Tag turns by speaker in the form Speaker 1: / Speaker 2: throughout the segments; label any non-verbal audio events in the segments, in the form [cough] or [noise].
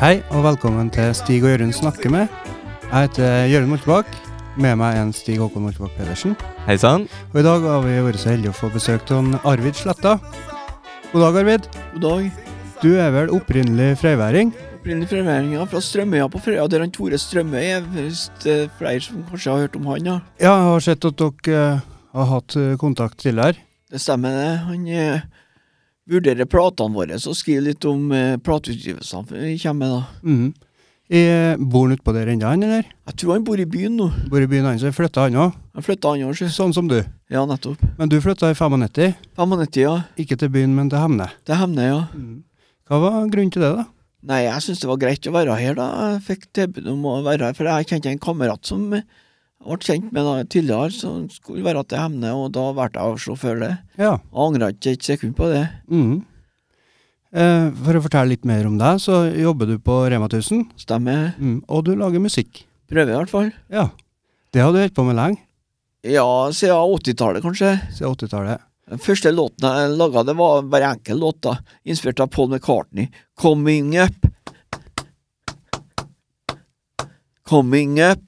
Speaker 1: Hei og velkommen til Stig og Jørund snakker med. Jeg heter Jørund Mortebakk. Med meg er en Stig Håkon Mortebakk Pedersen.
Speaker 2: Hei sann.
Speaker 1: Og i dag har vi vært så heldige å få besøk av en Arvid Sletta. God dag, Arvid.
Speaker 3: God dag.
Speaker 1: Du er vel opprinnelig frøyværing?
Speaker 3: Opprinnelig fremmeldinga fra Strømøya på Frøya, der han Tore Strømøy er. Hvis det er flere som kanskje har hørt om han, ja.
Speaker 1: Ja, jeg har sett at dere eh, har hatt eh, kontakt tidligere.
Speaker 3: Det stemmer, det. Han eh, vurderer platene våre og skriver litt om eh, plateutgivelsene vi kommer med, da.
Speaker 1: Mhm. I- Bor han utpå der ennå, han, eller?
Speaker 3: Jeg tror han bor i byen nå.
Speaker 1: Bor i byen hans, så flytta han òg,
Speaker 3: Han flytta han år, så.
Speaker 1: sånn som du.
Speaker 3: Ja, nettopp.
Speaker 1: Men du flytta i 95,
Speaker 3: 95, ja.
Speaker 1: ikke til byen, men til Hemne.
Speaker 3: Til Hemne, ja.
Speaker 2: Mhm.
Speaker 1: Hva var grunnen til det, da?
Speaker 3: Nei, jeg syns det var greit å være her, da. Jeg fikk tilbud om å være her, for jeg kjente en kamerat som eh, jeg ble kjent med da, tidligere, som skulle være til Hemne, og da valgte jeg å slå før det.
Speaker 1: Ja.
Speaker 3: Jeg angrer ikke et sekund på det.
Speaker 1: Mhm. Eh, for å fortelle litt mer om deg, så jobber du på Rema 1000,
Speaker 3: Stemmer.
Speaker 1: mm, og du lager musikk.
Speaker 3: Prøver i hvert fall.
Speaker 1: Ja. Det har du holdt på med lenge,
Speaker 3: Ja, siden 80-tallet, kanskje.
Speaker 1: siden 80-tallet.
Speaker 3: Den første låten jeg laga, det var bare enkel låt, da. Inspirert av Paul McCartney. 'Coming Up'. Coming up.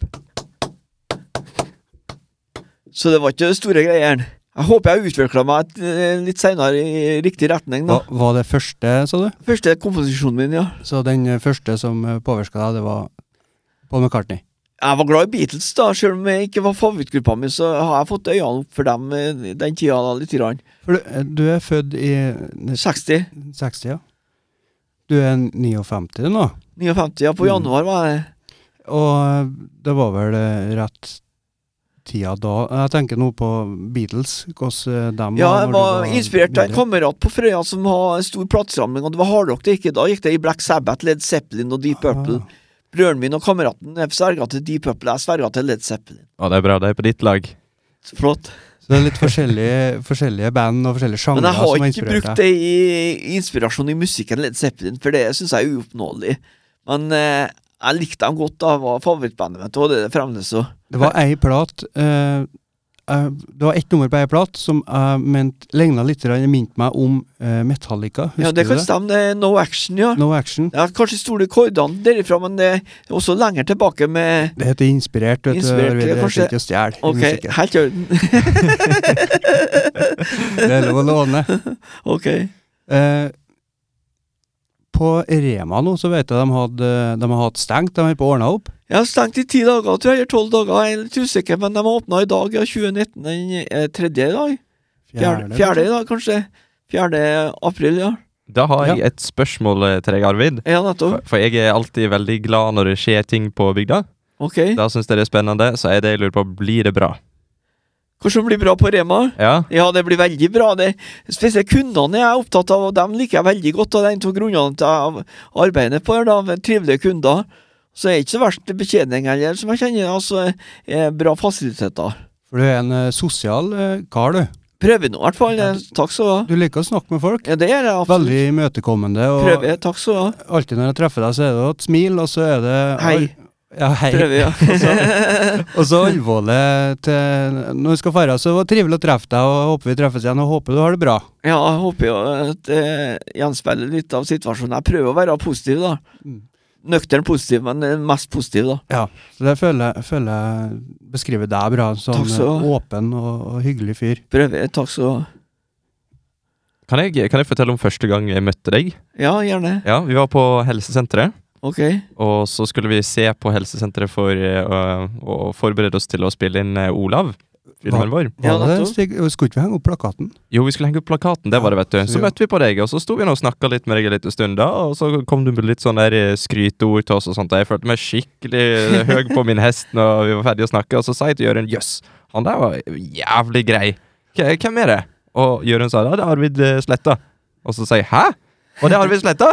Speaker 3: Så det var ikke det store greiene. Jeg håper jeg utvikla meg et, eh, litt seinere i riktig retning, da.
Speaker 1: Hva var det første, sa du?
Speaker 3: Første komposisjonen min, ja.
Speaker 1: Så den eh, første som påvirka deg, det var Paul McCartney.
Speaker 3: Jeg var glad i Beatles, da. Selv om jeg ikke var favorittgruppa mi, så har jeg fått øynene opp for dem eh, den tida, da, lite grann.
Speaker 1: For du, eh, du er født i
Speaker 3: 60.
Speaker 1: 60, ja. Du er 59 nå,
Speaker 3: 59, ja. På
Speaker 1: Mm.
Speaker 3: januar var jeg
Speaker 1: og eh, det var vel eh, rett tida da Jeg tenker nå på Beatles, hvordan de
Speaker 3: Ja, jeg
Speaker 1: når du
Speaker 3: var inspirert av en
Speaker 1: mindre.
Speaker 3: kamerat på Frøya som har en stor platesamling, og det var hardrock det gikk i. Da gikk det i Black Sabbath, Led Zeppelin og Deep Purple.
Speaker 1: Ah.
Speaker 3: Brødren min og kameraten jeg sverga til Deep Purple, jeg sverga til Led Zeppelin.
Speaker 2: Å, det er bra. Det er på ditt lag.
Speaker 3: Så Flott.
Speaker 1: Så det er litt forskjellige, forskjellige band og forskjellige
Speaker 3: Men
Speaker 1: sjangre
Speaker 3: jeg
Speaker 1: som
Speaker 3: har
Speaker 1: har
Speaker 3: ikke
Speaker 1: inspirert
Speaker 3: brukt
Speaker 1: deg.
Speaker 3: det i inspirasjon i musikken Led Zeppelin, for det syns jeg er uoppnåelig. Men eh, jeg likte dem godt, da. Det var favorittbandet mitt, og det er det fremdeles òg.
Speaker 1: Det var ei plat eh, eh, Det var ett nummer på ei plat som jeg mente ligna litt grann- minte meg om eh, Metallica. Husker
Speaker 3: Ja, det
Speaker 1: du
Speaker 3: kan
Speaker 1: det?
Speaker 3: stemme, det er No Action, ja.
Speaker 1: No Action.
Speaker 3: Jeg har kanskje store kordene derifra, men det er også lenger tilbake med
Speaker 1: Det heter Inspirert. Vet
Speaker 3: Inspirert,
Speaker 1: du, Arvid.
Speaker 3: det
Speaker 1: det
Speaker 3: kanskje-
Speaker 1: heter ikke å stjele i
Speaker 3: Ok,
Speaker 1: musikken.
Speaker 3: helt i orden.
Speaker 1: Det er lov å låne.
Speaker 3: [laughs] [laughs] Ok.
Speaker 1: Eh, på Rema nå så vet jeg de hadde, de har hatt stengt. De har på å ordne opp.
Speaker 3: Jeg har stengt i ti dager, tror jeg, eller tolv dager, jeg er litt usikker, men de har åpna i dag, ja, 2019, den eh, tredje i dag? Fjerde, fjerde i dag, kanskje? Fjerde april, ja. Mm.
Speaker 2: Da har
Speaker 1: Ja.
Speaker 2: jeg et spørsmål eh, til deg, Arvid.
Speaker 3: Ja,
Speaker 2: For,
Speaker 3: nettopp.
Speaker 2: for jeg er alltid veldig glad når det skjer ting på bygda.
Speaker 3: Ok.
Speaker 2: Da syns jeg det er spennende, så er det jeg lurer på, blir det bra?
Speaker 3: Hvordan blir det bra på Rema?
Speaker 2: Ja?
Speaker 3: Ja, det blir veldig bra. Det, spesielt kundene jeg er opptatt av, og dem liker jeg veldig godt. Og det er en av grunnene til at jeg arbeider på her, da, med trivelige kunder. Så er det ikke så verst betjening heller, som jeg kjenner. Altså, eh, bra fasiliteter.
Speaker 1: For du er en eh, sosial eh, kar, du.
Speaker 3: Prøver nå, i hvert fall.
Speaker 1: Ja,
Speaker 3: eh, Takk skal du ha.
Speaker 1: Du liker å snakke med folk.
Speaker 3: Ja, det gjør jeg absolutt.
Speaker 1: Veldig imøtekommende. Og
Speaker 3: Prøver, takk skal du ha.
Speaker 1: Alltid når jeg treffer deg, så er det et smil, og så er det
Speaker 3: Hei.
Speaker 1: Ja, hei.
Speaker 3: Prøver, ja.
Speaker 1: [laughs] Og så alvorlig til Når vi skal fare, så var det trivelig å treffe deg, og håper vi treffes igjen, og håper du har det bra.
Speaker 3: ja, jeg håper jo at det gjenspeiler litt av situasjonen. Jeg prøver å være positiv, da.
Speaker 1: Mm.
Speaker 3: Nøktern positiv, men eh, mest positiv, da.
Speaker 1: Så det føler, jeg- føler jeg beskriver deg bra. Sånn
Speaker 3: Takk skal du ha.
Speaker 1: åpen og, og hyggelig fyr.
Speaker 3: Prøver, takk skal du ha.
Speaker 2: Kan jeg, kan jeg fortelle om første gang jeg møtte deg?
Speaker 3: Ja, gjerne.
Speaker 2: Ja, Vi var på helsesenteret,
Speaker 3: Ok.
Speaker 2: og så skulle vi se på helsesenteret for eh, å, å forberede oss til å spille inn eh, Olav. Filmen vår.
Speaker 3: Ja,
Speaker 1: Var det det,
Speaker 3: nettopp.
Speaker 1: Stig? Skulle ikke vi henge opp plakaten?
Speaker 2: Jo, vi skulle henge opp plakaten. Det var det, vet du. Så møtte vi på deg, og så sto vi nå og snakka litt med deg en liten stund, da, og så kom du med litt sånn der eh, skryteord til oss og sånt. og Jeg følte meg skikkelig høy på min hest når vi var ferdige å snakke, og så sa jeg til Jørund jøss, han der var jævlig grei. K hvem er det? Og Jørund sa da, det er Arvid eh, Sletta. Og så sa jeg hæ? Var det Arvid Sletta?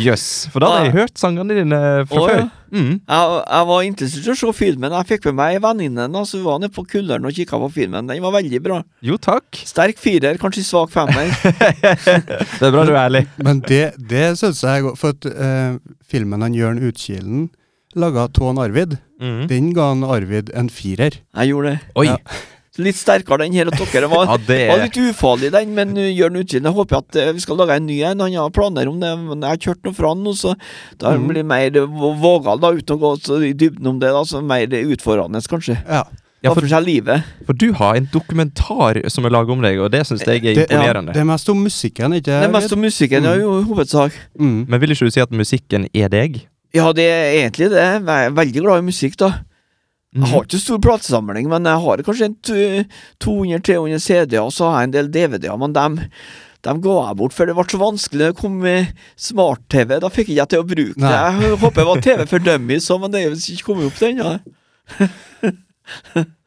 Speaker 2: Jøss. For da hadde jeg hørt sangene dine fra
Speaker 3: Å, ja.
Speaker 2: før. Mm.
Speaker 3: Jeg, jeg var interessert i å se filmen. Jeg fikk med meg ei venninne. da, Så vi var nede på Kulleren og kikka på filmen. Den var veldig bra.
Speaker 2: Jo, takk. [laughs]
Speaker 3: Sterk firer, kanskje svak
Speaker 1: [laughs]
Speaker 3: femmer.
Speaker 2: Det er bra du er ærlig.
Speaker 1: Men det, det syns jeg er godt, for at eh, filmen han Jørn Utkilen laga av Tåen Arvid,
Speaker 2: Mm.
Speaker 1: den ga han Arvid en firer.
Speaker 3: Jeg gjorde det.
Speaker 2: Oi.
Speaker 1: Ja.
Speaker 3: Litt sterkere den her, og dere var
Speaker 2: Ja, det
Speaker 3: var litt ufarlig den, men uh, gjør den utvilsomt. Jeg håper at uh, vi skal lage en ny en. Han har planer om det, men jeg har kjørt noe fra han nå, så da
Speaker 1: Mhm.
Speaker 3: blir det mer uh, vå- vågal, da, uten å gå så i dybden om det. da, så Mer utfordrende, kanskje.
Speaker 1: Ja.
Speaker 2: Ja,
Speaker 3: Ta
Speaker 2: for,
Speaker 3: for seg livet.
Speaker 2: for du har en dokumentar som er laget om deg, og det syns jeg er
Speaker 1: Det, ja,
Speaker 2: imponerende.
Speaker 1: det er mest om musikken, ikke
Speaker 3: Det er mest om musikken, ja,
Speaker 1: Mhm.
Speaker 3: jo, i hovedsak.
Speaker 1: Mm.
Speaker 2: Men vil ikke du si at musikken er deg?
Speaker 3: Ja, det er egentlig det. Jeg er veldig glad i musikk, da. Jeg
Speaker 1: Mhm.
Speaker 3: har ikke stor platesamling, men jeg har kanskje en tu- 200-300 CD-er, og så har jeg en del DVD-er, men dem, dem ga jeg bort, for det ble så vanskelig. Det kom eh, smart-TV, da fikk jeg ikke til å bruke det.
Speaker 1: Nei.
Speaker 3: Jeg håper det var TV for dummies òg, men det er jo ikke kommet opp den, ja.
Speaker 2: Mm.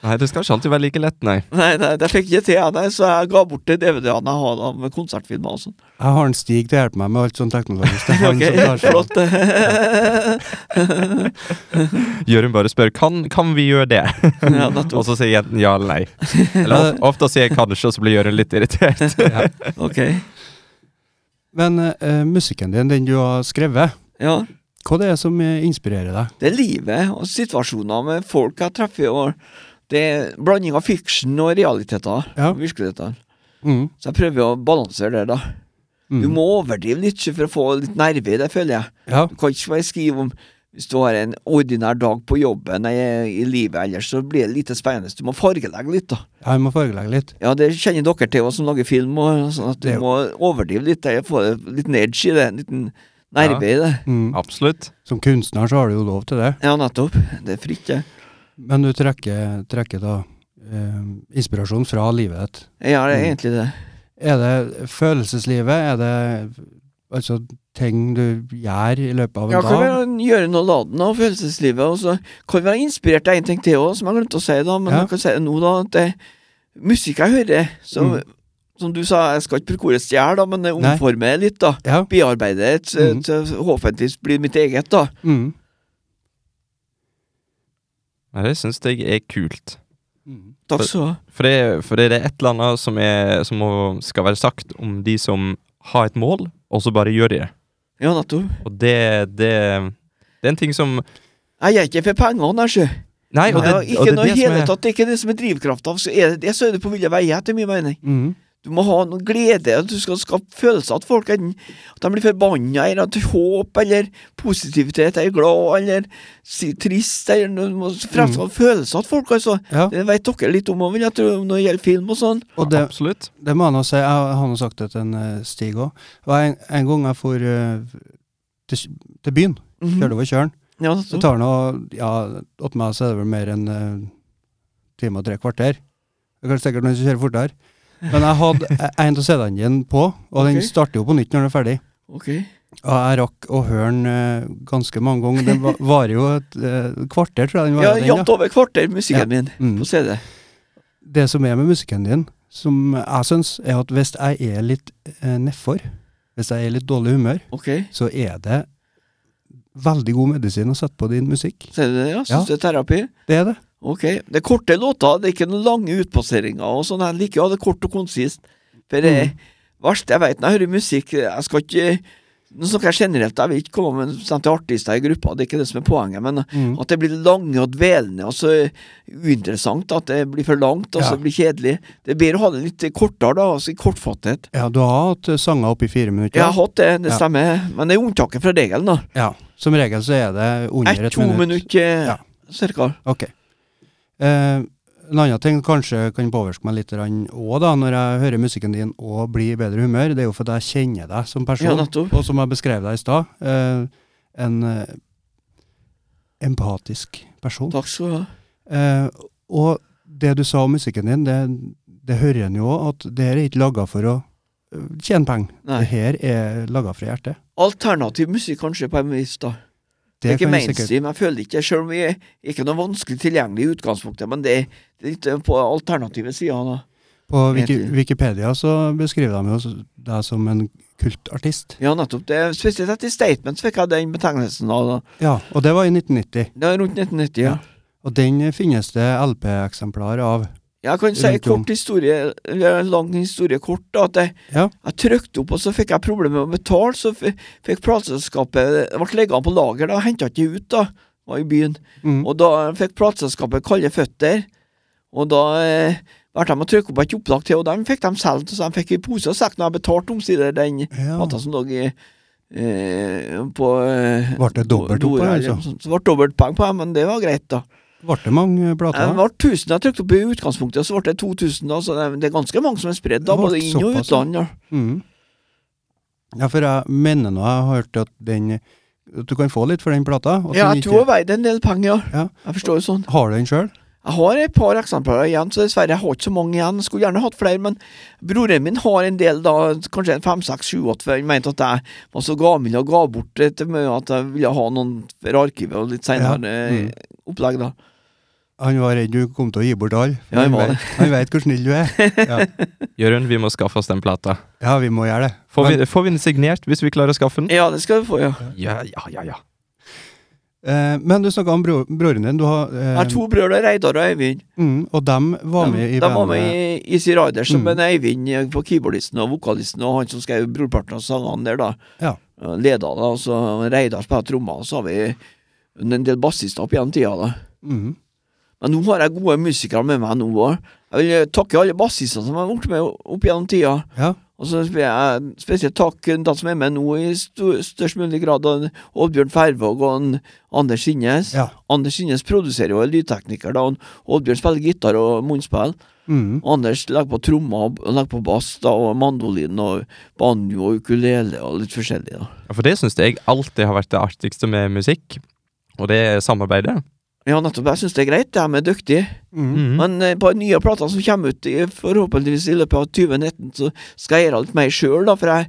Speaker 2: Nei, det skal ikke alltid være like lett, nei.
Speaker 3: Nei, nei, det fikk jeg ikke til, jeg, nei, så jeg ga bort de DVD-ene jeg har da, med konsertfilmer og sånn.
Speaker 1: Jeg har en Stig til å hjelpe meg med alt sånn teknologisk.
Speaker 3: [laughs]
Speaker 1: Det er han
Speaker 3: Ok,
Speaker 1: som tar seg av.
Speaker 3: flott.
Speaker 2: Jørund bare spør kan, kan vi gjøre det,
Speaker 3: ja,
Speaker 2: og
Speaker 1: [laughs]
Speaker 3: nettopp.
Speaker 2: så sier jenten ja
Speaker 3: [laughs]
Speaker 2: eller nei. Eller of, ofte sier jeg kanskje, og så blir Jørund litt
Speaker 3: [laughs]
Speaker 2: irritert.
Speaker 3: Ok.
Speaker 1: Men eh, musikken din, den du har skrevet,
Speaker 3: Ja.
Speaker 1: hva det er som eh, inspirerer deg?
Speaker 3: Det er livet og situasjoner med folk jeg treffer. og Det er blanding av fiksjon og realiteter.
Speaker 1: Ja.
Speaker 3: Virkeligheter.
Speaker 1: Mm.
Speaker 3: Så jeg prøver å balansere det, da.
Speaker 1: Mm.
Speaker 3: Du må overdrive litt for å få litt nerve i det, føler jeg.
Speaker 1: Ja.
Speaker 3: Du kan ikke bare skrive om hvis du har en ordinær dag på jobben eller i livet ellers, så blir det lite spennende. Du må fargelegge litt, da.
Speaker 1: Jeg må fargelegge litt.
Speaker 3: Ja, det kjenner dere til, også, som lager film, og sånn at du
Speaker 1: Det er jo-
Speaker 3: må overdrive litt. eller Få litt edge i det. En liten nerve i det.
Speaker 1: Mm.
Speaker 2: Absolutt.
Speaker 1: Som kunstner så har du jo lov til det,
Speaker 3: Ja, nettopp. Det er fritt, det.
Speaker 1: men du trekker, trekker da eh, inspirasjon fra livet ditt.
Speaker 3: Ja, det er
Speaker 1: Mm.
Speaker 3: egentlig det.
Speaker 1: Er det følelseslivet? Er det altså ting du gjør i løpet av en
Speaker 3: Ja, kan
Speaker 1: dag?
Speaker 3: være gjøre noe laden av følelseslivet. Og så kan være inspirert av en ting til òg, som jeg glemte å si, da, men
Speaker 1: Ja.
Speaker 3: jeg kan si det nå, da. At det er musikk jeg hører, som,
Speaker 1: Mm.
Speaker 3: som du sa, jeg skal ikke bruke ordet stjele, da, men det
Speaker 1: Nei.
Speaker 3: omformer jeg litt, da.
Speaker 1: Ja.
Speaker 3: Bearbeide det, til-
Speaker 1: Mm.
Speaker 3: til forhåpentligvis blir mitt eget, da.
Speaker 1: Mm.
Speaker 2: Nei, Det syns jeg er kult.
Speaker 1: Mm.
Speaker 3: Takk skal du ha.
Speaker 2: For det, for det er et eller annet som, er, som må, skal være sagt om de som har et mål, og så bare gjør de det.
Speaker 3: Ja, nettopp.
Speaker 2: Og det, det Det er en ting som
Speaker 3: Jeg gjør ikke for pengene, jeg, sjø.
Speaker 2: Nei, og det,
Speaker 3: Ja,
Speaker 2: og
Speaker 3: Ikke
Speaker 2: det, er
Speaker 3: noe i
Speaker 2: det som
Speaker 3: hele
Speaker 2: er
Speaker 3: tatt. Det er ikke det som er drivkrafta. Så er det det, så er det på ville veier, etter min mening.
Speaker 1: Mm.
Speaker 3: Du må ha noe glede, og du skal skape følelser at folk enten at de blir forbanna, eller at håp, eller positivitet, eller glad, eller si, trist, eller noe- du må fremskape følelser at folk altså.
Speaker 1: Mm. ja.
Speaker 3: Det vet dere litt om, og vil jeg tro, når det gjelder film og sånn.
Speaker 1: Og det,
Speaker 2: Absolutt.
Speaker 1: Det må jeg nå si. Jeg har nå sagt det til en eh, Stig òg. Og en, en gang jeg for eh, til, til byen,
Speaker 3: Mhm.
Speaker 1: kjørte over Tjørn,
Speaker 3: Ja,
Speaker 1: så
Speaker 3: så,
Speaker 1: tar det nå Ja, åt meg så er det vel mer enn eh, time og tre kvarter. Det er sikkert noen som kjører fortere. Men jeg hadde eh, en av CD-ene dine på, og den
Speaker 3: Ok.
Speaker 1: starter jo på nytt når den er ferdig.
Speaker 3: ok.
Speaker 1: Og jeg rakk å høre den eh, ganske mange ganger. Den va- varer jo et eh, kvarter, tror jeg den
Speaker 3: Ja,
Speaker 1: varer. den,
Speaker 3: jevnt over kvarter, musikken
Speaker 1: Ja.
Speaker 3: min,
Speaker 1: Mm.
Speaker 3: på CD.
Speaker 1: Det som er med musikken din, som jeg syns, er at hvis jeg er litt eh, nedfor, hvis jeg er i litt dårlig humør,
Speaker 3: Ok.
Speaker 1: så er det veldig god medisin å sette på din musikk.
Speaker 3: Ser du det,
Speaker 1: Ja.
Speaker 3: ja? Syns det er terapi?
Speaker 1: Det er det.
Speaker 3: Ok. Det er korte låter, det er ikke noen lange utpasseringer og sånn. Jeg liker å ha det kort og konsist. For det
Speaker 1: Mm.
Speaker 3: verste jeg vet når jeg hører musikk Jeg skal ikke Nå snakker jeg generelt, jeg vil ikke komme med bestemte artister i gruppa, det er ikke det som er poenget, men
Speaker 1: Mm.
Speaker 3: at det blir lange og dvelende og så uinteressant, at det blir for langt og så
Speaker 1: Ja.
Speaker 3: blir kjedelig. Det er bedre å ha det litt kortere, da, altså i kortfattet.
Speaker 1: Ja, du har hatt eh, sanger opp i fire
Speaker 3: Jeg
Speaker 1: minutter.
Speaker 3: har hatt det, det
Speaker 1: Ja.
Speaker 3: stemmer, men det er unntaket fra regelen, da.
Speaker 1: Ja. Som regel så er det under
Speaker 3: Ett,
Speaker 1: et
Speaker 3: to
Speaker 1: minutt.
Speaker 3: minutter, eh,
Speaker 1: Ja.
Speaker 3: cirka.
Speaker 1: Ok. Eh, en annen ting kanskje kan påvirke meg litt òg, da, når jeg hører musikken din og blir i bedre humør, det er jo fordi jeg kjenner deg som
Speaker 3: Ja,
Speaker 1: person,
Speaker 3: nettopp.
Speaker 1: og som jeg beskrev deg i stad, eh, en eh, empatisk person.
Speaker 3: Takk skal du ha.
Speaker 1: Eh, og det du sa om musikken din, det, det hører en jo òg, at det her er ikke laga for å øh, tjene penger.
Speaker 3: Nei.
Speaker 1: Det her er laga fra hjertet.
Speaker 3: Alternativ musikk, kanskje, på en vis, da. Det er ikke
Speaker 1: kan jeg sikkert-
Speaker 3: mainstream, jeg føler ikke Selv om vi er ikke noe vanskelig tilgjengelig i utgangspunktet, men det er litt eh, på alternative sider, da.
Speaker 1: På Wiki,
Speaker 3: Mainstream.
Speaker 1: Wikipedia så beskriver de jo s- deg som en kultartist.
Speaker 3: Ja, nettopp. Det, er spesielt etter Statements fikk jeg den betegnelsen. da, da.
Speaker 1: Ja, og det var i 1990.
Speaker 3: Det er rundt 1990, ja.
Speaker 1: Og den finnes det LP-eksemplar av.
Speaker 3: Jeg kan si en
Speaker 1: Rundt om.
Speaker 3: kort historie, eller en lang historie kort, da, at jeg,
Speaker 1: Ja.
Speaker 3: jeg trykte opp, og så fikk jeg problemer med å betale, så f fikk plateselskapet Det ble liggende på lager, da, henta ikke ut, da, eh, var i byen.
Speaker 1: Mm.
Speaker 3: Og da fikk plateselskapet kalde føtter, Og da eh, ble de å trykke opp et opplag til, og dem fikk de solgt. Så de fikk i pose og sekk når jeg betalte omsider den
Speaker 1: Ja.
Speaker 3: plata som lå i eh, på eh,
Speaker 1: Ble det dobbelt opp,
Speaker 3: Dora, eller
Speaker 1: altså?
Speaker 3: noe sånt. Så ble det dobbelt poeng på dem, men det var greit, da.
Speaker 1: Ble det mange plater?
Speaker 3: Det
Speaker 1: da?
Speaker 3: var 1000 jeg trykte opp i utgangspunktet, så ble det 2000, da. Så det, det er ganske mange som er spredd, da,
Speaker 1: Det ble
Speaker 3: både inn- og
Speaker 1: såpass, ja.
Speaker 3: utland. Da.
Speaker 1: Mhm. Ja, for jeg mener nå jeg har hørt at den at Du kan få litt for den plata. at
Speaker 3: Ja,
Speaker 1: den
Speaker 3: jeg
Speaker 1: ikke-
Speaker 3: tror jeg veide en del penger, ja.
Speaker 1: Ja.
Speaker 3: Jeg forstår jo sånn.
Speaker 1: Har du den sjøl?
Speaker 3: Jeg har et par eksemplarer igjen, så dessverre jeg har ikke så mange igjen. Jeg skulle gjerne hatt flere, men broren min har en del, da, kanskje en fem, seks, sju, åtte, for han mente at jeg var så gammel og ga bort det til meg at jeg ville ha noen for arkivet og litt seinere
Speaker 1: mm.
Speaker 3: opplegg, da.
Speaker 1: Han var redd du kom til å gi bort alle. for
Speaker 3: Ja, han var
Speaker 1: vet- han vet hvor snill du er.
Speaker 3: [laughs]
Speaker 1: Ja,
Speaker 2: Jørund, vi må skaffe oss den plata.
Speaker 1: ja vi må gjøre det.
Speaker 2: Får vi, får vi den signert hvis vi klarer å skaffe den?
Speaker 3: Ja, det skal du få, ja.
Speaker 2: Ja, ja, ja. ja.
Speaker 1: Eh, men du snakka om bro, broren din. Du har, eh,
Speaker 3: Jeg har to brødre, Reidar og Eivind.
Speaker 1: mm, og dem var med i
Speaker 3: De var med
Speaker 1: bandet.
Speaker 3: i Easy Riders, som
Speaker 1: Mm.
Speaker 3: en Eivind eh, på keyboardisten og vokalisten, og han som skrev brorparten av sangene der, da.
Speaker 1: Ja.
Speaker 3: Eh, Leda, da, og så Reidar spilte trommer, og så har vi en del bassister opp igjen tida, da.
Speaker 1: Mhm.
Speaker 3: Men nå har jeg gode musikere med meg nå òg. Jeg vil eh, takke alle bassistene som har vært med opp gjennom tida.
Speaker 1: Ja.
Speaker 3: Og så vil jeg spesielt takke de som er med nå i sto- størst mulig grad. og en Oddbjørn Færvåg og en Anders Sinnes.
Speaker 1: ja.
Speaker 3: Anders Sinnes produserer og er lydtekniker. da, og Oddbjørn spiller gitar og munnspill.
Speaker 1: Mhm.
Speaker 3: Og Anders legger på trommer og og legger på bass da, og mandolin og banjo og ukulele og litt forskjellig. da.
Speaker 2: Ja, For det syns jeg alltid har vært det artigste med musikk, og det er samarbeidet.
Speaker 3: Ja, nettopp. Jeg syns det er greit. De er dyktige.
Speaker 1: Mhm.
Speaker 2: Mhm.
Speaker 3: Men eh, på de nye platene som kommer ut i, forhåpentligvis i løpet av 2019, så skal jeg gjøre litt mer sjøl, da, for jeg,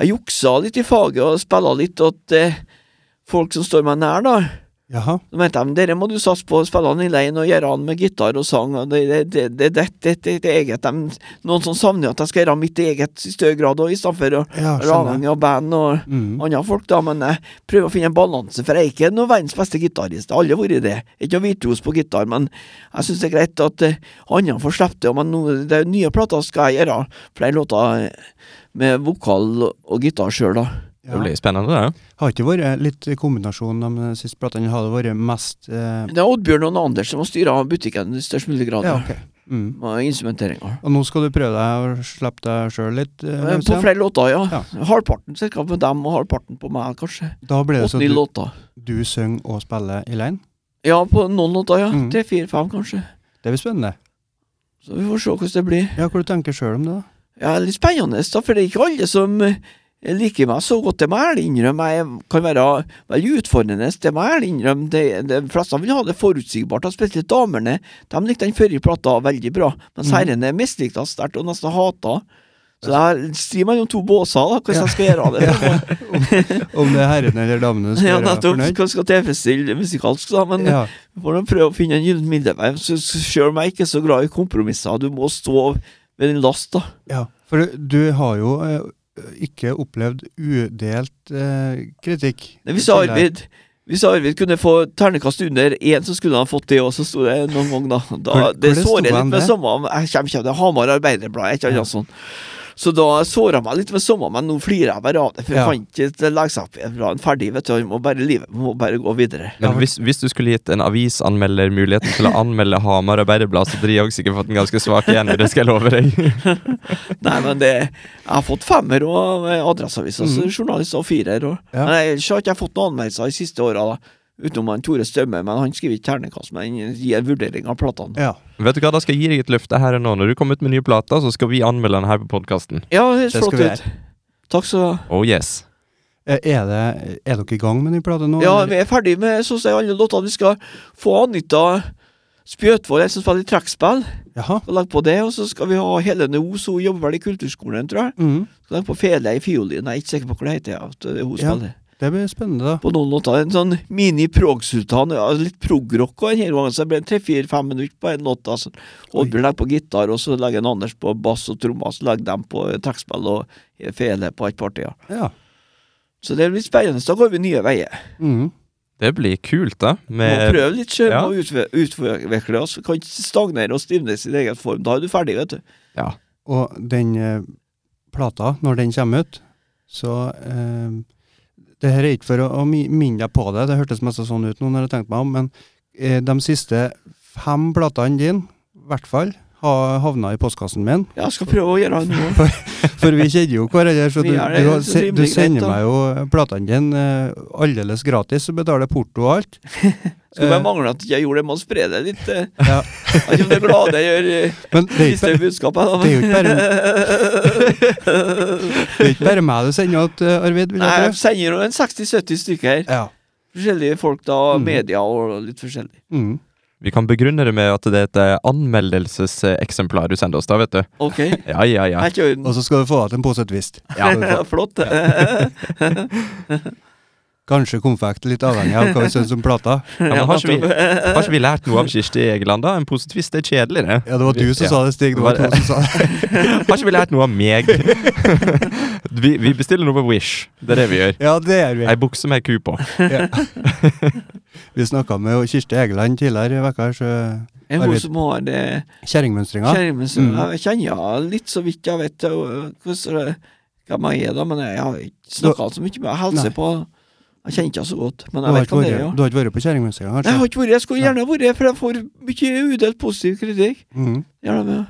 Speaker 3: jeg juksa litt i faget og spilla litt til eh, folk som står meg nær, da.
Speaker 1: Jaha.
Speaker 3: Så mente de dere må du satse på å spille han i lein og gjøre han med gitar og sang, og det er det, det, det, det, det, det eget. De, noen som savner at jeg skal gjøre mitt eget i større grad, og i stedet for å
Speaker 1: Ja,
Speaker 3: være
Speaker 1: skjønner.
Speaker 3: avhengig av band og
Speaker 1: Mhm.
Speaker 3: andre folk, da, men jeg prøver å finne en balanse, for jeg er ikke noen verdens beste gitarist. Jeg har aldri vært det. Ikke noe virtuos på gitar, men jeg syns det er greit at eh, andre får slippe det. Men nå, de nye plata skal jeg gjøre flere låter eh, med vokal og gitar sjøl, da.
Speaker 2: Det
Speaker 1: Ja.
Speaker 2: blir spennende, det.
Speaker 1: Har ikke vært litt kombinasjon de siste platene? Har det vært mest eh,
Speaker 3: Det er Oddbjørn og Anders som har styra butikken i størst mulig grad.
Speaker 1: Ja,
Speaker 3: Ja.
Speaker 1: ok. Mhm.
Speaker 3: Med instrumenteringa.
Speaker 1: Og nå skal du prøve deg å slippe deg sjøl litt? eh,
Speaker 3: Eh,
Speaker 1: løs
Speaker 3: På
Speaker 1: igjen?
Speaker 3: flere låter, ja.
Speaker 1: Ja.
Speaker 3: Halvparten cirka på dem, og halvparten på meg, kanskje.
Speaker 1: Da blir det så
Speaker 3: Åtte-ni
Speaker 1: du,
Speaker 3: låter.
Speaker 1: du synger og spiller i line?
Speaker 3: Ja, på noen låter, ja.
Speaker 1: Mhm.
Speaker 3: Tre-fire-fem, kanskje.
Speaker 1: Det blir spennende.
Speaker 3: Så vi får se hvordan det blir.
Speaker 1: Ja, hva du tenker sjøl om det, da?
Speaker 3: Ja, litt spennende, da, for det er ikke alle som eh, liker meg så godt. Det må jeg ærlig innrømme. Jeg kan være veldig utfordrende. Det må jeg ærlig innrømme. De, de fleste vil ha det forutsigbart, og spesielt damene. De likte den forrige plata veldig bra, mens
Speaker 1: Mhm.
Speaker 3: herrene mislikte den sterkt og nesten hata. Så jeg strir mellom to båser, da, hvordan jeg skal gjøre
Speaker 1: [laughs]
Speaker 3: det.
Speaker 1: Om det er herrene eller damene som
Speaker 3: [laughs]
Speaker 1: skal
Speaker 3: Ja,
Speaker 1: være
Speaker 3: nettopp.
Speaker 1: fornøyd?
Speaker 3: Hvordan skal jeg tilfredsstille musikalsk, da? Men
Speaker 1: Ja.
Speaker 3: vi får nå prøve å finne en gyllen middelvei. Så- så Selv om jeg ikke er så glad i kompromisser, du må stå ved din last, da.
Speaker 1: ja. For du, du har jo eh, ikke opplevd udelt eh, kritikk.
Speaker 3: Nei, Hvis Arvid Hvis Arvid kunne få ternekast under én, så skulle han fått det òg, så sto det noen gang, da. da
Speaker 1: Hvor-
Speaker 3: det
Speaker 1: hvor det sto
Speaker 3: sårer
Speaker 1: han
Speaker 3: litt med
Speaker 1: det?
Speaker 3: samme Jeg kommer ikke av det Hamar Arbeiderblad, jeg er ikke
Speaker 1: Ja.
Speaker 3: annet sånn. Så da såra meg litt med samme, men nå flirer jeg bare av det, for
Speaker 1: Ja.
Speaker 3: jeg fant ikke leggsaken ferdig, vet du. Jeg må bare, livet må bare gå videre.
Speaker 1: Ja,
Speaker 2: Men
Speaker 1: vel.
Speaker 2: hvis, hvis du skulle gitt en avisanmelder muligheten til å anmelde Hamar Arbeiderblad, så hadde de òg sikkert fått en ganske svak en, det skal jeg love deg. [laughs]
Speaker 3: Nei, men det Jeg har fått femmer og eh, Adresseavisa, så journalist og firer og
Speaker 1: Mhm. Ja.
Speaker 3: Men jeg så har ikke jeg fått noen anmeldelser de siste åra, da. Utenom han Tore Stømme, men han skriver ikke ternekast, men han gir en vurdering av platene.
Speaker 1: Ja.
Speaker 2: Vet du hva, da skal jeg gi deg et løfte her og nå. Når du kommer ut med nye plater, så skal vi anmelde den her på podkasten.
Speaker 3: Ja, det høres
Speaker 1: Det
Speaker 3: flott
Speaker 1: skal vi
Speaker 3: ut. Takk skal du ha.
Speaker 2: Oh yes.
Speaker 1: Eh, Er, det, er dere i gang med ny plate nå?
Speaker 3: Ja,
Speaker 1: eller?
Speaker 3: vi er ferdig med sånn som alle låtene. Vi skal få Anita Spjøtvold, en som spiller trekkspill,
Speaker 1: Jaha.
Speaker 3: og legge på det. Og så skal vi ha Helene Os, hun jobber vel i kulturskolen, tror jeg.
Speaker 1: Mhm.
Speaker 3: Skal legge på Fele i fiolin, jeg er ikke sikker på hva det heter. Ja. at det er Hun
Speaker 1: Ja.
Speaker 3: spiller
Speaker 1: Det blir spennende, da.
Speaker 3: på noen låter. En sånn mini-prog-sultan, ja, litt prog-rock og denne gangen. Så det ble tre-fire-fem minutter på en låt. Altså. Oddbjørn legger på gitar, og så legger en Anders på bass og trommer, så legger de på trekkspill og Fele på et parti. Ja.
Speaker 1: Ja.
Speaker 3: Så det blir spennende. Da går vi nye veier.
Speaker 1: Mhm.
Speaker 2: Det blir kult, da.
Speaker 3: Må
Speaker 2: Med
Speaker 3: prøve litt sjøl,
Speaker 2: ja.
Speaker 3: må utve- utvikle oss. Kan ikke stagnere og stivne i sin egen form. Da er du ferdig, vet du.
Speaker 2: ja.
Speaker 1: Og den eh, plata, når den kommer ut, så eh, Det her er ikke for å, å mi- minne deg på det, det hørtes mest sånn ut nå når jeg tenkte meg om, men eh, de siste fem platene dine hvert fall ha havna i postkassen min.
Speaker 3: Jeg skal prøve å gjøre det nå.
Speaker 1: For vi kjenner jo hverandre. Så du,
Speaker 3: [laughs]
Speaker 1: du,
Speaker 3: Vi gjør det,
Speaker 1: har
Speaker 3: så
Speaker 1: se- du
Speaker 3: rimelig greit,
Speaker 1: sender
Speaker 3: da.
Speaker 1: meg jo platene dine eh, aldeles gratis og betaler porto og
Speaker 3: [laughs]
Speaker 1: alt.
Speaker 3: Skulle bare
Speaker 1: Eh,
Speaker 3: mangle at jeg gjorde det med å spre det litt. eh.
Speaker 1: Ja.
Speaker 3: Jeg vet ikke om det er glade jeg gjør eh,
Speaker 1: Men [laughs] det er ikke
Speaker 3: siste budskapet. Da.
Speaker 1: det er jo ikke
Speaker 3: [laughs] bare
Speaker 1: Det er ikke bare meg du sender til, Arvid. Vil
Speaker 3: Nei,
Speaker 1: jeg
Speaker 3: jeg sender jo en 60-70 stykker her.
Speaker 1: tro. Ja.
Speaker 3: Forskjellige folk, da. og
Speaker 1: Mm.
Speaker 3: Media og litt forskjellig.
Speaker 1: Mm.
Speaker 2: Vi kan begrunne det med at det er et eh, anmeldelseseksemplar du sender oss, da, vet du.
Speaker 1: [laughs]
Speaker 3: Ok. Jeg
Speaker 2: Ja, ja, ja.
Speaker 3: er ikke i orden.
Speaker 1: Og så skal du få deg til en pose
Speaker 3: [laughs]
Speaker 1: twist.
Speaker 3: Flott.
Speaker 1: Kanskje konfekt, litt avhengig av hva vi syns om plata.
Speaker 2: ja men
Speaker 3: Ja,
Speaker 2: har ikke, vi,
Speaker 3: nettopp.
Speaker 2: har ikke vi lært noe av Kirsti Egeland, da? En positivist er kjedelig, det.
Speaker 1: Ja, det var du som
Speaker 2: Ja.
Speaker 1: sa det, Stig. Det var
Speaker 2: Var
Speaker 1: to som sa
Speaker 3: [laughs]
Speaker 1: det.
Speaker 2: Har ikke vi lært noe av meg? [laughs] vi, vi bestiller noe på Wish. Det er det vi gjør.
Speaker 1: Ja, det gjør vi.
Speaker 2: Ei bukse med ei ku på.
Speaker 1: Vi snakka med Kirsti Egeland tidligere i uka, så
Speaker 3: [laughs]
Speaker 1: Jeg
Speaker 3: En hun
Speaker 1: vet.
Speaker 3: som har det
Speaker 1: kjerringmønstringa.
Speaker 3: skjermesen
Speaker 1: Mm.
Speaker 3: Jeg kjenner henne litt, så vidt jeg vet øh, hvordan det- hvem jeg er, da, men jeg har ikke snakka så mye med henne. Hilser
Speaker 1: Nei.
Speaker 3: på Jeg kjenner ikke henne så godt, men
Speaker 1: Du
Speaker 3: jeg
Speaker 1: har
Speaker 3: vet
Speaker 1: ikke
Speaker 3: hva det er.
Speaker 1: vært,
Speaker 3: ja.
Speaker 1: du har ikke vært på kjerringmønstringa,
Speaker 3: Nei, Jeg har
Speaker 1: kanskje?
Speaker 3: ikke vært, jeg skulle gjerne vært, for jeg får mye udelt positiv kritikk.
Speaker 1: Mhm.
Speaker 3: Gjerne med.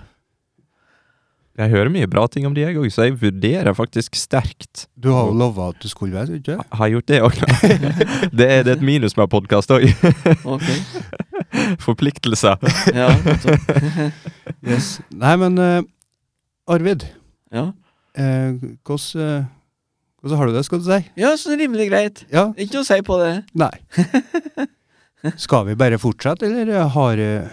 Speaker 2: Jeg hører mye bra ting om de, jeg òg, så jeg vurderer faktisk sterkt.
Speaker 1: Du har jo lova at du skulle være det, ikke
Speaker 2: Har jeg gjort det òg, da? [laughs] Det er, det er et minus med podkast òg.
Speaker 3: Ok.
Speaker 2: [laughs] Forpliktelser.
Speaker 3: Ja, nettopp.
Speaker 1: Yes. Nei, men eh, Arvid,
Speaker 3: ja.
Speaker 1: eh, hvordan eh, hvordan har du det, skal du si?
Speaker 3: ja, så det er rimelig greit.
Speaker 1: Ja?
Speaker 3: Ikke noe å si på det.
Speaker 1: Nei.
Speaker 3: [laughs]
Speaker 1: Skal vi bare fortsette, eller har, eh,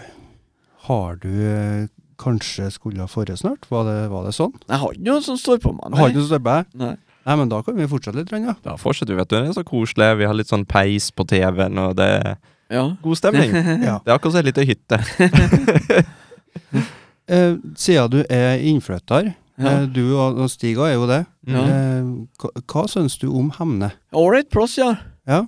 Speaker 1: har du eh, kanskje skulle ha forrige snart? Var det, var det sånn?
Speaker 3: Jeg har ikke noe som står på meg.
Speaker 1: Har
Speaker 3: Nei.
Speaker 1: ikke noe støpe?
Speaker 3: Nei.
Speaker 1: Nei, men da kan vi fortsette litt, ja.
Speaker 2: Da fortsetter vi, vet du. Det er så koselig. Vi har litt sånn peis på TV-en, og det er
Speaker 3: Ja.
Speaker 2: god stemning.
Speaker 1: ja.
Speaker 2: Det er akkurat som ei lita hytte.
Speaker 1: Eh, siden du er innflytter, eh,
Speaker 3: Ja.
Speaker 1: du og, og Stig også er jo det.
Speaker 3: Ja.
Speaker 1: Eh, hva, hva syns du om Hemne?
Speaker 3: Ålreit plass, ja.
Speaker 1: Ja?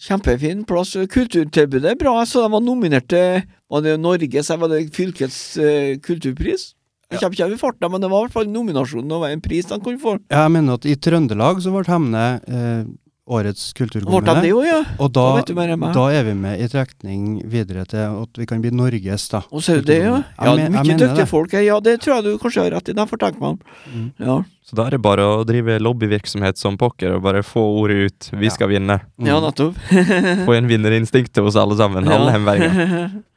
Speaker 3: Kjempefin plass. Kulturtilbudet er bra. Jeg så de var nominert til Var det Norges eller var det fylkets eh, kulturpris? Jeg kommer ikke over farta, men det var i hvert fall nominasjonen og en pris de kunne få.
Speaker 1: Jeg mener at i Trøndelag så ble Hemne eh, årets
Speaker 3: Ble de det
Speaker 1: kulturkommune.
Speaker 3: òg, ja?
Speaker 1: Og
Speaker 3: Da
Speaker 1: da,
Speaker 3: vet du mer enn meg.
Speaker 1: da er vi med i trekning videre til at vi kan bli Norges, da.
Speaker 3: Og så er det det, ja.
Speaker 1: Jeg
Speaker 3: ja
Speaker 1: men- jeg
Speaker 3: mye
Speaker 1: mener
Speaker 3: dyktige
Speaker 1: det.
Speaker 3: folk her. Ja, det tror jeg du kanskje har rett i. De får tenke meg om.
Speaker 1: Mm.
Speaker 3: Ja.
Speaker 2: Så da er det bare å drive lobbyvirksomhet som pokker og bare få ordet ut. Vi
Speaker 1: Ja.
Speaker 2: skal vinne.
Speaker 1: Mm.
Speaker 3: ja, nettopp.
Speaker 2: [laughs] Få igjen vinnerinstinktet hos alle sammen. Alle hemveier.
Speaker 3: [laughs]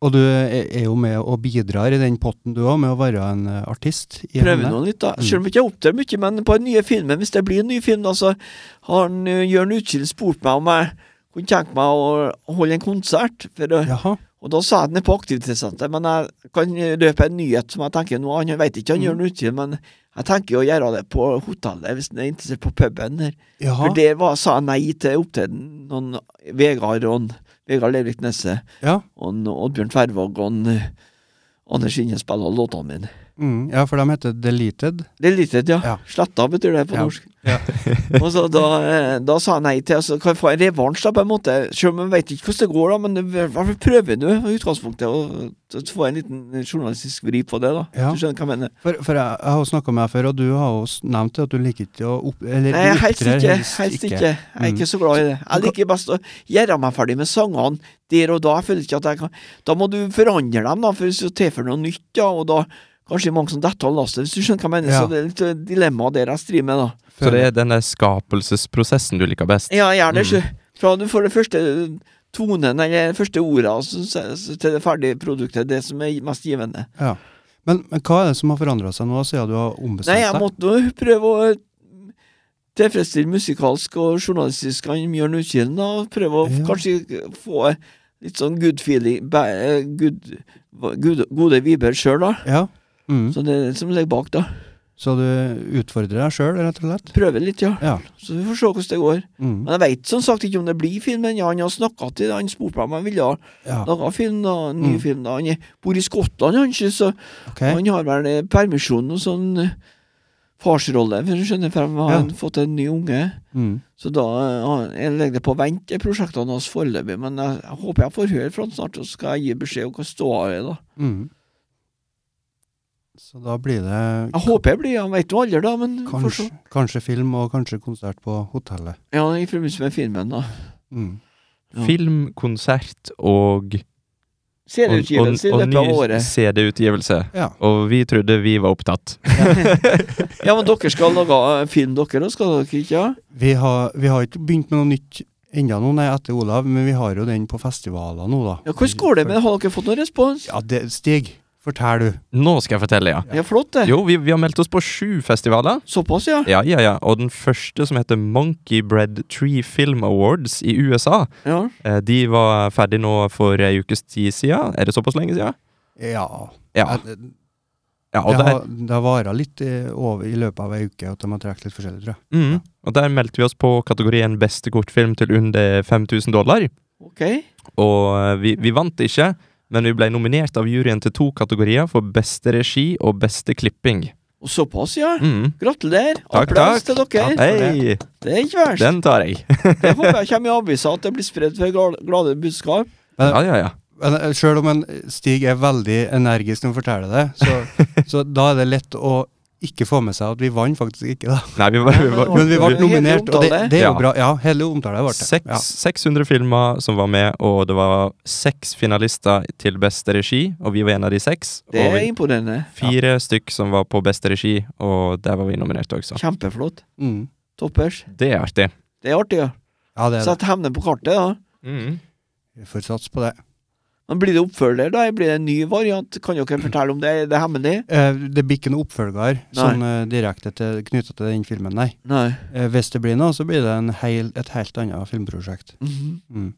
Speaker 1: Og du er er jo med og bidrar i den potten du òg, med å være en eh, artist. i
Speaker 3: Prøver
Speaker 1: Hemne.
Speaker 3: nå litt, da.
Speaker 1: Mm.
Speaker 3: Selv om jeg ikke opptrer mye, men på den nye filmen, hvis det blir en ny film, da, så har en, eh, Jørn Utkild spurt meg om jeg kunne tenke meg å holde en konsert. For å
Speaker 1: Jaha.
Speaker 3: Og da sa jeg den er på aktivitetssenteret, men jeg kan røpe en nyhet som jeg tenker nå. Han vet ikke han gjør den utgitt, men jeg tenker å gjøre det på hotellet, hvis han er interessert på puben der.
Speaker 1: Jaha.
Speaker 3: For der var, sa jeg nei til opptreden noen Vegard og en- Vegard Levrik Nesse
Speaker 1: Ja.
Speaker 3: og en Oddbjørn Tvervåg og en Anders Inge spiller låtene mine.
Speaker 1: Mm. ja, for de heter Deleted.
Speaker 3: Det er lite, ja.
Speaker 1: Ja.
Speaker 3: Sletta betyr det på
Speaker 1: Ja.
Speaker 3: norsk.
Speaker 1: Ja.
Speaker 3: [laughs] og så da, eh, da sa jeg nei til, altså kan jeg få en revansj da, på en måte. Selv om jeg vet ikke hvordan det går, da, men det- i hvert fall prøver nå i utgangspunktet å å få en liten journalistisk vri på det, da.
Speaker 1: Ja.
Speaker 3: Du skjønner hva jeg mener?
Speaker 1: For, for jeg, jeg har jo snakka med deg før, og du har jo s- nevnt det at du liker ikke å opp... Eller
Speaker 3: Nei,
Speaker 1: du
Speaker 3: helst
Speaker 1: opptrer
Speaker 3: ikke. Helst ikke. Jeg er ikke så glad i det.
Speaker 1: Mm.
Speaker 3: Jeg liker best å gjøre meg ferdig med sangene der og da. Jeg føler ikke at jeg kan Da må du forandre dem, da, for hvis du tilfører noe nytt, da, og da Kanskje mange som detter av lasset, hvis du skjønner hva jeg mener.
Speaker 1: Ja.
Speaker 3: Så det er litt eh, dilemma der jeg strir med, da.
Speaker 2: Så det er denne skapelsesprosessen du liker best.
Speaker 3: Ja,
Speaker 1: Mm.
Speaker 3: gjerne ikke. Fra du får det første tonen, eller første ordet, altså, så- så til det ferdige produktet. Det som er mest givende.
Speaker 1: Ja. Men, men hva er det som har forandra seg nå, siden du har ombestemt
Speaker 3: Nei, jeg
Speaker 1: deg?
Speaker 3: måtte jo prøve å tilfredsstille musikalsk og journalistisk han Bjørn Utkilen, da, og prøve å
Speaker 1: Ja.
Speaker 3: kanskje få litt sånn good feeling bæ- eh, good, good, Gode viber sjøl, da.
Speaker 1: Ja. Mm.
Speaker 3: Så det er det som ligger bak, da.
Speaker 1: Så du utfordrer deg sjøl, rett og slett?
Speaker 3: Prøve litt, ja.
Speaker 1: Ja.
Speaker 3: Så vi får se hvordan det går.
Speaker 1: Mm.
Speaker 3: Men jeg veit som sagt ikke om det blir film, men ja, han har snakka til han spurte meg om han ville ha
Speaker 1: ja.
Speaker 3: laga film, da. En ny
Speaker 1: Mm.
Speaker 3: film, da. Han er- bor i Skottland, han, ikke, så
Speaker 1: Ok.
Speaker 3: han har vel eh, permisjon og sånn eh, farsrolle, for du skjønner, for han har
Speaker 1: Ja.
Speaker 3: han fått en ny unge.
Speaker 1: Mm.
Speaker 3: Så da eh, har- jeg legger det på vent, de prosjektene hans foreløpig, men jeg, jeg håper jeg får høre fra han snart, så skal jeg gi beskjed om hva ståa er, da.
Speaker 1: Mm. Så da blir det
Speaker 3: Jeg håper jeg blir, han vet jo aldri, da, men vi får
Speaker 1: kanskje,
Speaker 3: se.
Speaker 1: kanskje film og kanskje konsert på hotellet.
Speaker 3: Ja, i forbindelse med filmen, da.
Speaker 1: Mm.
Speaker 3: Ja.
Speaker 2: Film, konsert og
Speaker 3: Serieutgivelse i
Speaker 2: og, og,
Speaker 3: løpet av
Speaker 2: og ny
Speaker 3: året.
Speaker 2: CD-utgivelse.
Speaker 1: Ja.
Speaker 2: Og vi trodde vi var opptatt.
Speaker 3: Ja, men dere skal lage eh, film, dere, og skal dere ikke? Ja?
Speaker 1: Vi har, vi har ikke begynt med noe nytt enda nå, nei, etter Olav, men vi har jo den på festivaler nå, da.
Speaker 3: Ja, Hvordan går det med det? Har dere fått noen respons?
Speaker 1: Ja, det, Stig, fortell du.
Speaker 2: Nå skal jeg fortelle,
Speaker 3: [laughs]
Speaker 2: ja.
Speaker 3: Ja, flott, det.
Speaker 2: Jo, vi, vi har meldt oss på sju festivaler.
Speaker 3: Såpass, ja.
Speaker 2: Ja, ja, ja. Og den første, som heter Monkey Bread Tree Film Awards i USA,
Speaker 3: ja.
Speaker 2: eh, de var ferdig nå for ei ukes tid siden. Er det såpass lenge siden?
Speaker 1: Ja.
Speaker 2: Ja.
Speaker 1: Jeg- Det,
Speaker 2: ja og, der,
Speaker 1: har, det har vara litt eh, over i løpet av ei uke, at de har trukket litt forskjellig, tror jeg.
Speaker 2: mm, og der meldte vi oss på kategorien beste kortfilm til under 5000 dollar.
Speaker 3: Ok.
Speaker 2: Og eh, vi, vi vant ikke, men vi ble nominert av juryen til to kategorier for beste regi og beste klipping.
Speaker 3: Og såpass, ja.
Speaker 2: Mm.
Speaker 3: Gratulerer.
Speaker 2: Takk,
Speaker 3: Applaus
Speaker 2: takk.
Speaker 3: til dere. Eh.
Speaker 2: Hei!
Speaker 3: Det er ikke verst.
Speaker 2: Den tar jeg.
Speaker 3: Det håper jeg kommer i avisa, at det blir spredt for gal- glade budskap.
Speaker 2: Ja, ja, ja.
Speaker 1: Men, eh, Selv om en Stig er veldig energisk når han forteller det, så,
Speaker 2: [laughs]
Speaker 1: så da er det lett å ikke få med seg at vi vant faktisk ikke, da.
Speaker 2: Nei, vi var, vi var,
Speaker 1: Men vi ble
Speaker 3: Hele
Speaker 1: nominert, og det,
Speaker 3: omtale.
Speaker 1: det er
Speaker 2: Ja.
Speaker 1: jo bra. Ja, hele omtalen ble det.
Speaker 2: Seks,
Speaker 1: Ja.
Speaker 2: 600 filmer som var med, og det var seks finalister til beste regi, og vi var en av de seks.
Speaker 3: Det
Speaker 2: og
Speaker 3: er
Speaker 2: vi,
Speaker 3: imponerende.
Speaker 2: fire stykk som var på beste regi, og der var vi nominert også.
Speaker 3: Kjempeflott.
Speaker 1: Mm.
Speaker 3: Toppers.
Speaker 2: Det er artig.
Speaker 3: Det er artig, ja.
Speaker 1: ja, det er det.
Speaker 3: Sett hevnen på kartet, da. Mm.
Speaker 1: Vi får satse på det.
Speaker 3: Men blir det oppfølger, da? Blir det en ny variant? Kan dere fortelle om det? Er det hemmelig?
Speaker 1: Eh, det blir ikke noen oppfølger sånn eh, direkte til, knytta til den filmen, nei.
Speaker 3: Nei.
Speaker 1: Eh, hvis det blir noe, så blir det en heil, et helt annet filmprosjekt.
Speaker 3: Mhm.
Speaker 1: Mm.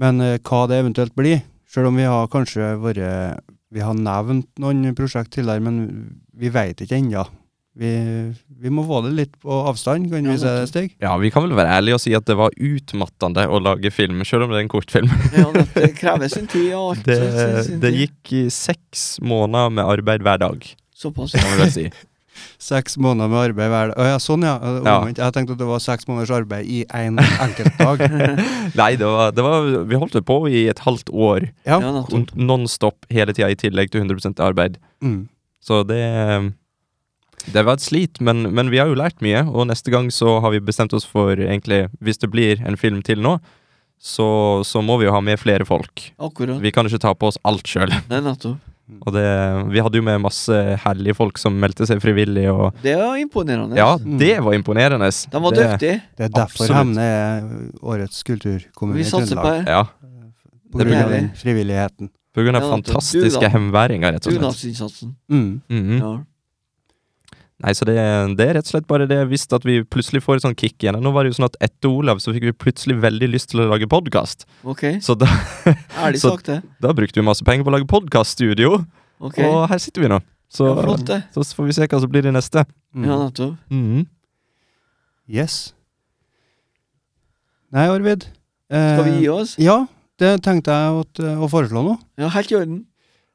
Speaker 1: Men eh, hva det eventuelt blir, selv om vi har kanskje vært Vi har nevnt noen prosjekt tidligere, men vi veit ikke ennå. Vi, vi må få det litt på avstand, kan
Speaker 3: Ja,
Speaker 1: vi si det,
Speaker 3: nettopp.
Speaker 1: Stig?
Speaker 2: Ja, vi kan vel være ærlige og si at det var utmattende å lage film, selv om det er en kortfilm.
Speaker 3: Ja, det- det krever sin tid og alt.
Speaker 2: Det,
Speaker 3: sin- sin
Speaker 2: det
Speaker 3: tid.
Speaker 2: gikk i seks måneder med arbeid hver dag,
Speaker 3: Såpass.
Speaker 2: kan vi vel [laughs] si.
Speaker 1: Seks måneder med arbeid hver dag. Å ja, sånn ja. Eh,
Speaker 2: Ja.
Speaker 1: Omvendt. Jeg tenkte at det var seks måneders arbeid i én enkelt dag.
Speaker 2: Nei, det var, det var, vi holdt det på i et halvt år,
Speaker 1: Ja.
Speaker 3: Ja, nettopp.
Speaker 2: non-stop hele tida, i tillegg til 100 arbeid.
Speaker 1: Mm.
Speaker 2: Så det Det var et slit, men, men vi har jo lært mye. Og neste gang så har vi bestemt oss for, egentlig, hvis det blir en film til nå, så, så må vi jo ha med flere folk.
Speaker 3: Akkurat.
Speaker 2: Vi kan ikke ta på oss alt sjøl.
Speaker 3: Nei, nettopp.
Speaker 2: Og det Vi hadde jo med masse herlige folk som meldte seg frivillig, og
Speaker 3: Det er imponerende.
Speaker 2: Ja, det Mm. var imponerende.
Speaker 3: De var
Speaker 2: Det-
Speaker 3: dyktige.
Speaker 1: Det er derfor
Speaker 2: Absolutt.
Speaker 1: Hemne er årets kulturkommune
Speaker 3: Vi
Speaker 1: i
Speaker 3: satser på
Speaker 1: Trøndelag.
Speaker 3: det.
Speaker 2: Ja.
Speaker 1: På
Speaker 2: Det
Speaker 1: grunn av
Speaker 3: blir
Speaker 1: den frivilligheten.
Speaker 2: På grunn av
Speaker 3: Ja,
Speaker 2: fantastiske
Speaker 3: dugnad.
Speaker 2: hemværinger, rett og slett.
Speaker 3: dugnadsinnsatsen.
Speaker 1: Mm.
Speaker 2: Mhm.
Speaker 3: Ja.
Speaker 2: Nei, så det, det er rett og slett bare det jeg visste at vi plutselig får et sånt kick igjen. Nå var det jo sånn at etter Olav så fikk vi plutselig veldig lyst til å lage podkast.
Speaker 3: Ok.
Speaker 2: Så da,
Speaker 3: Ærlig
Speaker 2: Så-
Speaker 3: sagt, det.
Speaker 2: da brukte vi masse penger på å lage podkaststudio,
Speaker 3: Ok.
Speaker 2: og her sitter vi nå. Så,
Speaker 3: Ja, flott, det.
Speaker 2: så får vi se hva som blir det neste.
Speaker 1: Mm.
Speaker 3: Ja, nettopp.
Speaker 2: Mhm.
Speaker 1: Yes. Nei, Arvid. eh,
Speaker 3: Skal vi gi oss?
Speaker 1: Ja, det tenkte jeg at, eh, å foreslå nå.
Speaker 3: Ja, helt i orden.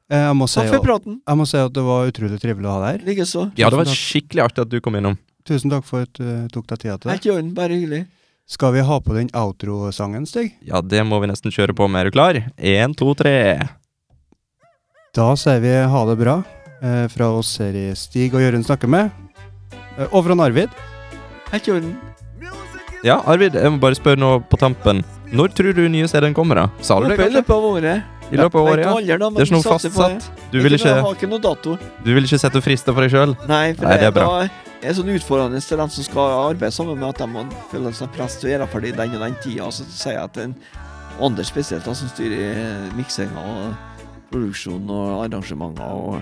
Speaker 1: Eh, Jeg må, si,
Speaker 3: Takk for
Speaker 1: jeg
Speaker 3: praten.
Speaker 1: må si at det var utrolig trivelig å ha deg her.
Speaker 3: Likeså.
Speaker 2: Ja, det var
Speaker 1: Tusen takk.
Speaker 2: skikkelig artig at du kom innom.
Speaker 1: Tusen takk for at du eh, tok deg tida til det.
Speaker 3: Helt i orden. Bare hyggelig.
Speaker 1: Skal vi ha på den outro-sangen, Stig?
Speaker 2: Ja, det må vi nesten kjøre på med. Er du klar? Én, to, tre.
Speaker 1: Da sier vi ha det bra eh, fra oss her i Stig og Jørund snakker med. Eh, Og fra Arvid.
Speaker 3: Helt i orden.
Speaker 2: Ja, Arvid, jeg må bare spørre nå på tampen. Når tror du nye CD-en kommer, da? Sa du det?
Speaker 3: Oppe I
Speaker 2: kanskje?
Speaker 3: løpet av året.
Speaker 2: I løpet av året, ja.
Speaker 3: Vet ikke alderen, da, men
Speaker 2: Det er ikke noe
Speaker 3: satser på det.
Speaker 2: fastsatt. Du vil
Speaker 3: Jeg
Speaker 2: ikke,
Speaker 3: har ikke noe dato.
Speaker 2: du vil ikke sette frister for deg sjøl?
Speaker 3: Nei, for
Speaker 2: Nei, det er
Speaker 3: det, da er sånn utfordrende til dem som skal arbeide sammen med at de må føle seg press til å gjøre ferdig den og den tida. Så sier jeg at en Anders spesielt, da, som styrer eh, miksinga og produksjon og arrangementer og, og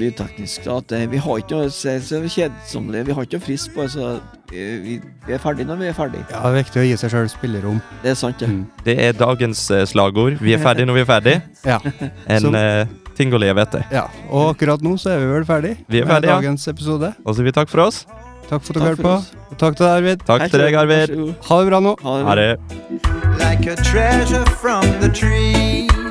Speaker 3: lydteknisk, da, at eh, vi har ikke noe så, så kjedsommelig, vi har ikke noe frist på det, så eh, vi, vi er ferdig når vi er ferdig.
Speaker 1: Ja, det er viktig å gi seg sjøl spillerom.
Speaker 3: Det er sant, det.
Speaker 1: Mm.
Speaker 2: Det er dagens eh, slagord. Vi er ferdig når vi er ferdig.
Speaker 1: Ja.
Speaker 2: En
Speaker 1: Som-
Speaker 2: eh, ting å leve etter.
Speaker 1: Ja, og akkurat nå så er vi vel ferdig
Speaker 2: Vi er
Speaker 1: med
Speaker 2: ferdig, ja.
Speaker 1: dagens episode.
Speaker 2: Og så sier vi takk for oss.
Speaker 1: Takk for at
Speaker 3: Takk
Speaker 1: dere hørte
Speaker 3: for
Speaker 1: på,
Speaker 3: oss.
Speaker 1: og takk til deg, Arvid.
Speaker 2: Takk til deg, Arvid.
Speaker 3: Vær så god.
Speaker 1: Ha det bra nå.
Speaker 3: Ha det.
Speaker 2: Ha det.
Speaker 4: like a treasure from the tree.